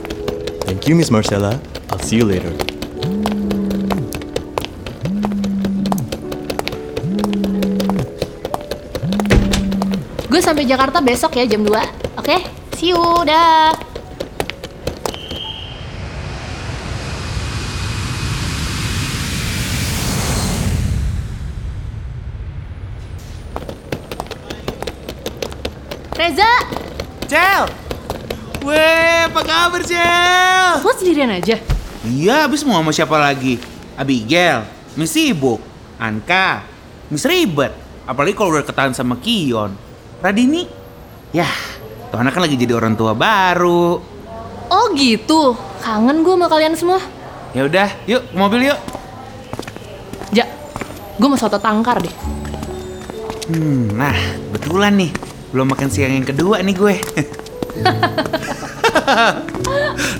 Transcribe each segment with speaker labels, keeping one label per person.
Speaker 1: Thank you, Miss Marcella. I'll see you later.
Speaker 2: Gue sampai Jakarta besok ya jam 2. Oke? See you. Dah. Reza,
Speaker 3: Cel! Weh, apa kabar Cel?
Speaker 2: lo sendirian aja.
Speaker 3: Iya, abis mau sama siapa lagi? Abigail, Miss Sibuk, Anka, Miss Ribet. Apalagi kalau udah ketahuan sama Kion. Radini? Yah, tuh anak kan lagi jadi orang tua baru.
Speaker 2: Oh gitu. Kangen gue sama kalian semua.
Speaker 3: Ya udah, yuk ke mobil yuk.
Speaker 2: Ja, gue mau soto tangkar deh.
Speaker 3: Hmm, nah, betulan nih. Belum makan siang yang kedua nih gue.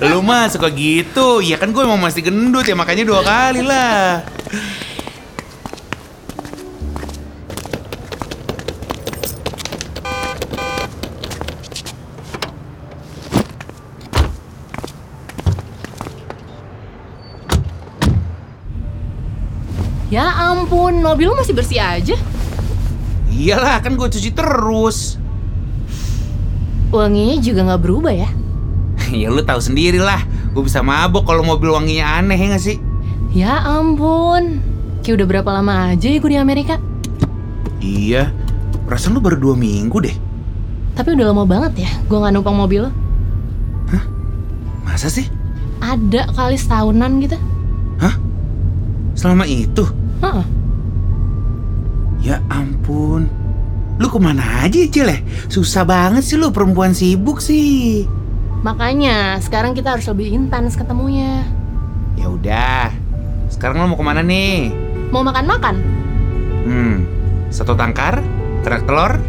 Speaker 3: Lu mah suka gitu. Ya kan gue mau masih gendut ya makanya dua kali lah.
Speaker 2: Ya ampun, mobil lo masih bersih aja.
Speaker 3: Iyalah, kan gue cuci terus.
Speaker 2: Wanginya juga nggak berubah ya.
Speaker 3: ya lu tahu sendiri lah. Gue bisa mabok kalau mobil wanginya aneh ya gak sih?
Speaker 2: Ya ampun. Kayak udah berapa lama aja ya gue di Amerika?
Speaker 3: Iya. Perasaan lu baru dua minggu deh.
Speaker 2: Tapi udah lama banget ya gue nggak numpang mobil lo.
Speaker 3: Masa sih?
Speaker 2: Ada kali setahunan gitu.
Speaker 3: Hah? Selama itu?
Speaker 2: Heeh.
Speaker 3: Ya ampun. Lu kemana aja, Cil ya? Susah banget sih lu, perempuan sibuk sih.
Speaker 2: Makanya sekarang kita harus lebih intens ketemunya.
Speaker 3: Ya udah. Sekarang lu mau kemana nih?
Speaker 2: Mau makan-makan?
Speaker 3: Hmm, satu tangkar, kerak telur,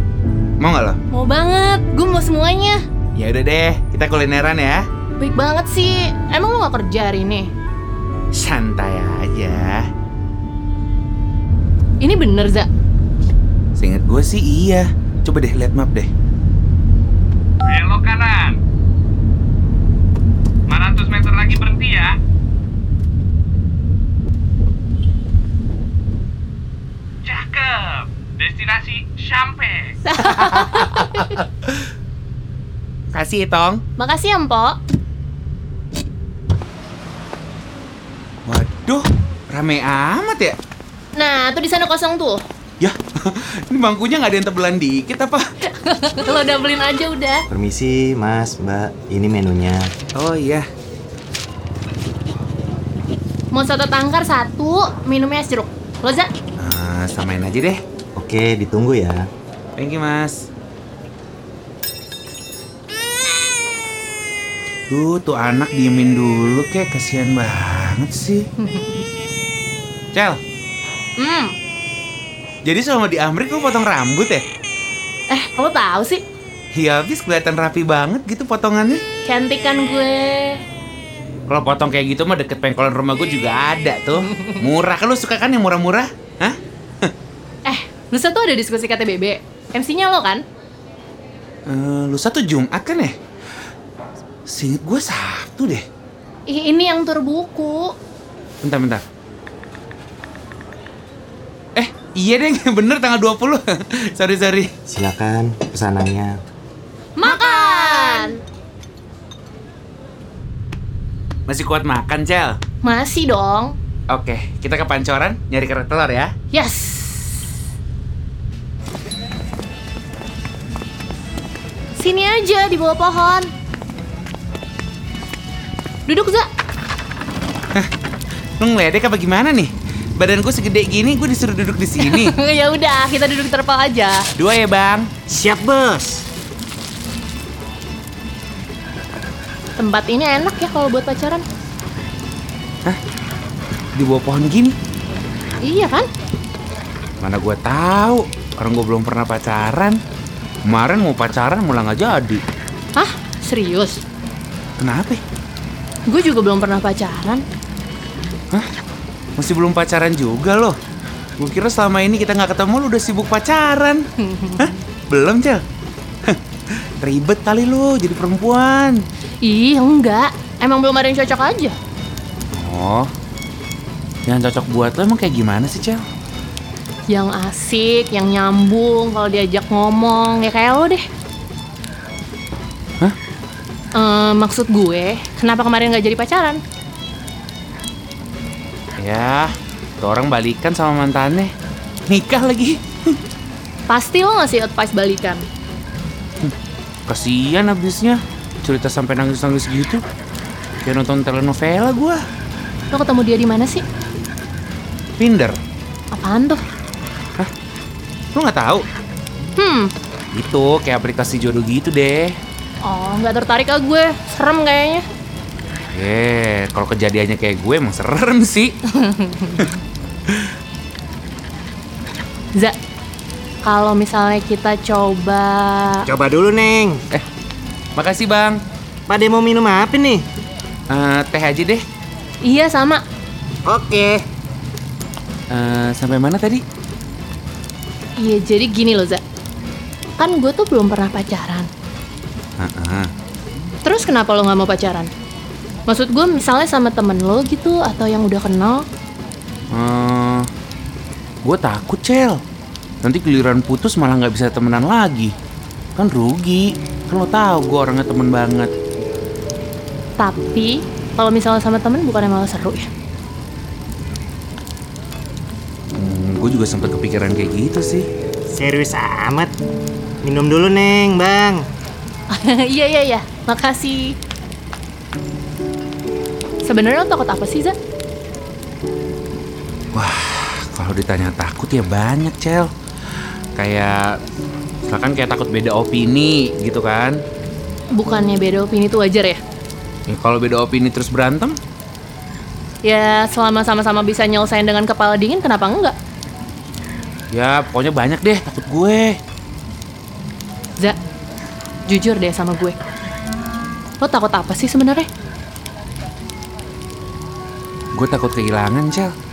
Speaker 3: mau nggak lo?
Speaker 2: Mau banget. Gue mau semuanya.
Speaker 3: Ya udah deh, kita kulineran ya.
Speaker 2: Baik banget sih. Emang lo gak kerja hari ini?
Speaker 3: Santai aja.
Speaker 2: Ini bener, Za.
Speaker 3: Seingat gue sih iya. Coba deh lihat map deh.
Speaker 4: Belok kanan. 500 meter lagi berhenti ya. Cakep. Destinasi sampai.
Speaker 3: Kasih tong.
Speaker 2: Makasih ya, Mpok.
Speaker 3: Waduh, rame amat ya.
Speaker 2: Nah, tuh di sana kosong tuh.
Speaker 3: Yah, ini bangkunya nggak ada yang tebelan dikit apa?
Speaker 2: Lo udah beliin aja udah.
Speaker 5: Permisi, Mas, Mbak. Ini menunya.
Speaker 3: Oh iya.
Speaker 2: Mau soto tangkar satu, minumnya es jeruk. Lo, Za?
Speaker 3: Ah, samain aja deh.
Speaker 5: Oke, ditunggu ya.
Speaker 3: Thank you, Mas. Duh, tuh anak diemin dulu kek. Kasihan banget sih. Cel,
Speaker 2: Hmm.
Speaker 3: jadi selama di Amrik lu potong rambut ya?
Speaker 2: Eh, lo tahu sih?
Speaker 3: Ya habis kelihatan rapi banget gitu potongannya.
Speaker 2: Cantik kan gue.
Speaker 3: Kalau potong kayak gitu mah deket pengkolan rumah gue juga ada tuh. Murah kan lu suka kan yang murah-murah? Hah?
Speaker 2: Eh, lusa tuh ada diskusi KTBB. MC-nya lo kan?
Speaker 3: Eh, lu satu Jumat kan ya? Seinget gue Sabtu deh.
Speaker 2: Ih, ini yang tur buku.
Speaker 3: Bentar, bentar. Eh, iya deh, bener tanggal 20. sorry, sorry.
Speaker 5: Silakan pesanannya.
Speaker 2: Makan!
Speaker 3: Masih kuat makan, Cel.
Speaker 2: Masih dong.
Speaker 3: Oke, kita ke pancoran nyari kerak telur ya.
Speaker 2: Yes. Sini aja di bawah pohon. Duduk, Za.
Speaker 3: Lu ngeledek apa gimana nih? Badan gue segede gini, gue disuruh duduk di sini.
Speaker 2: ya udah, kita duduk di terpal aja.
Speaker 3: Dua ya, Bang.
Speaker 6: Siap, bos.
Speaker 2: Tempat ini enak ya kalau buat pacaran.
Speaker 3: Di bawah pohon gini.
Speaker 2: Iya kan?
Speaker 3: Mana gue tahu orang gue belum pernah pacaran. Kemarin mau pacaran malah nggak jadi.
Speaker 2: Hah? Serius?
Speaker 3: Kenapa? ya?
Speaker 2: Gue juga belum pernah pacaran.
Speaker 3: Hah? Masih belum pacaran juga loh. Gue kira selama ini kita nggak ketemu lu udah sibuk pacaran. Hah? Belum, Cel? Hah, Ribet kali lu jadi perempuan.
Speaker 2: Ih, enggak. Emang belum ada yang cocok aja.
Speaker 3: Oh, yang cocok buat lo emang kayak gimana sih, Cel?
Speaker 2: Yang asik, yang nyambung, kalau diajak ngomong, ya kayak lo deh.
Speaker 3: Hah?
Speaker 2: Eh, maksud gue, kenapa kemarin nggak jadi pacaran?
Speaker 3: Ya, tuh orang balikan sama mantannya. Nikah lagi.
Speaker 2: Pasti lo ngasih advice balikan.
Speaker 3: Kasian abisnya. Cerita sampai nangis-nangis gitu. Kayak nonton telenovela gua.
Speaker 2: Lo ketemu dia di mana sih?
Speaker 3: Tinder.
Speaker 2: Apaan tuh?
Speaker 3: Lo nggak tahu?
Speaker 2: Hmm,
Speaker 3: Itu kayak aplikasi jodoh gitu deh.
Speaker 2: oh nggak tertarik ah gue. Serem kayaknya.
Speaker 3: Eh, kalau kejadiannya kayak gue emang serem sih.
Speaker 2: Za, kalau misalnya kita coba...
Speaker 5: Coba dulu, Neng.
Speaker 3: Makasih, Bang.
Speaker 5: Pak mau minum apa nih?
Speaker 3: Eh, teh aja deh.
Speaker 2: Iya, sama.
Speaker 5: Oke.
Speaker 3: Eh, sampai mana tadi?
Speaker 2: Iya, jadi gini loh, Za. Kan gue tuh belum pernah pacaran.
Speaker 3: Heeh.
Speaker 2: Terus kenapa lo nggak mau pacaran? Maksud gue misalnya sama temen lo gitu atau yang udah kenal
Speaker 3: Eh, gue takut, Cel. Nanti giliran putus malah nggak bisa temenan lagi. Kan rugi. Kan lo tahu gue orangnya temen banget.
Speaker 2: Tapi kalau misalnya sama temen bukannya malah seru ya
Speaker 3: Hmm, gue juga sempat kepikiran kayak gitu sih.
Speaker 5: Serius amat. Minum dulu, Neng, Bang.
Speaker 2: Iya iya iya Makasih Sebenarnya lo takut apa sih Za?
Speaker 3: Kalau ditanya takut ya banyak, Cel. Kayak misalkan kayak takut beda opini gitu kan.
Speaker 2: Bukannya beda opini itu wajar ya?
Speaker 3: Ya, kalau beda opini terus berantem,
Speaker 2: Ya selama sama-sama bisa nyelesain dengan kepala dingin kenapa enggak?
Speaker 3: ya pokoknya banyak deh takut gue.
Speaker 2: Za, jujur deh sama gue Lo takut apa sih sebenarnya?
Speaker 3: Gue takut kehilangan, Cel.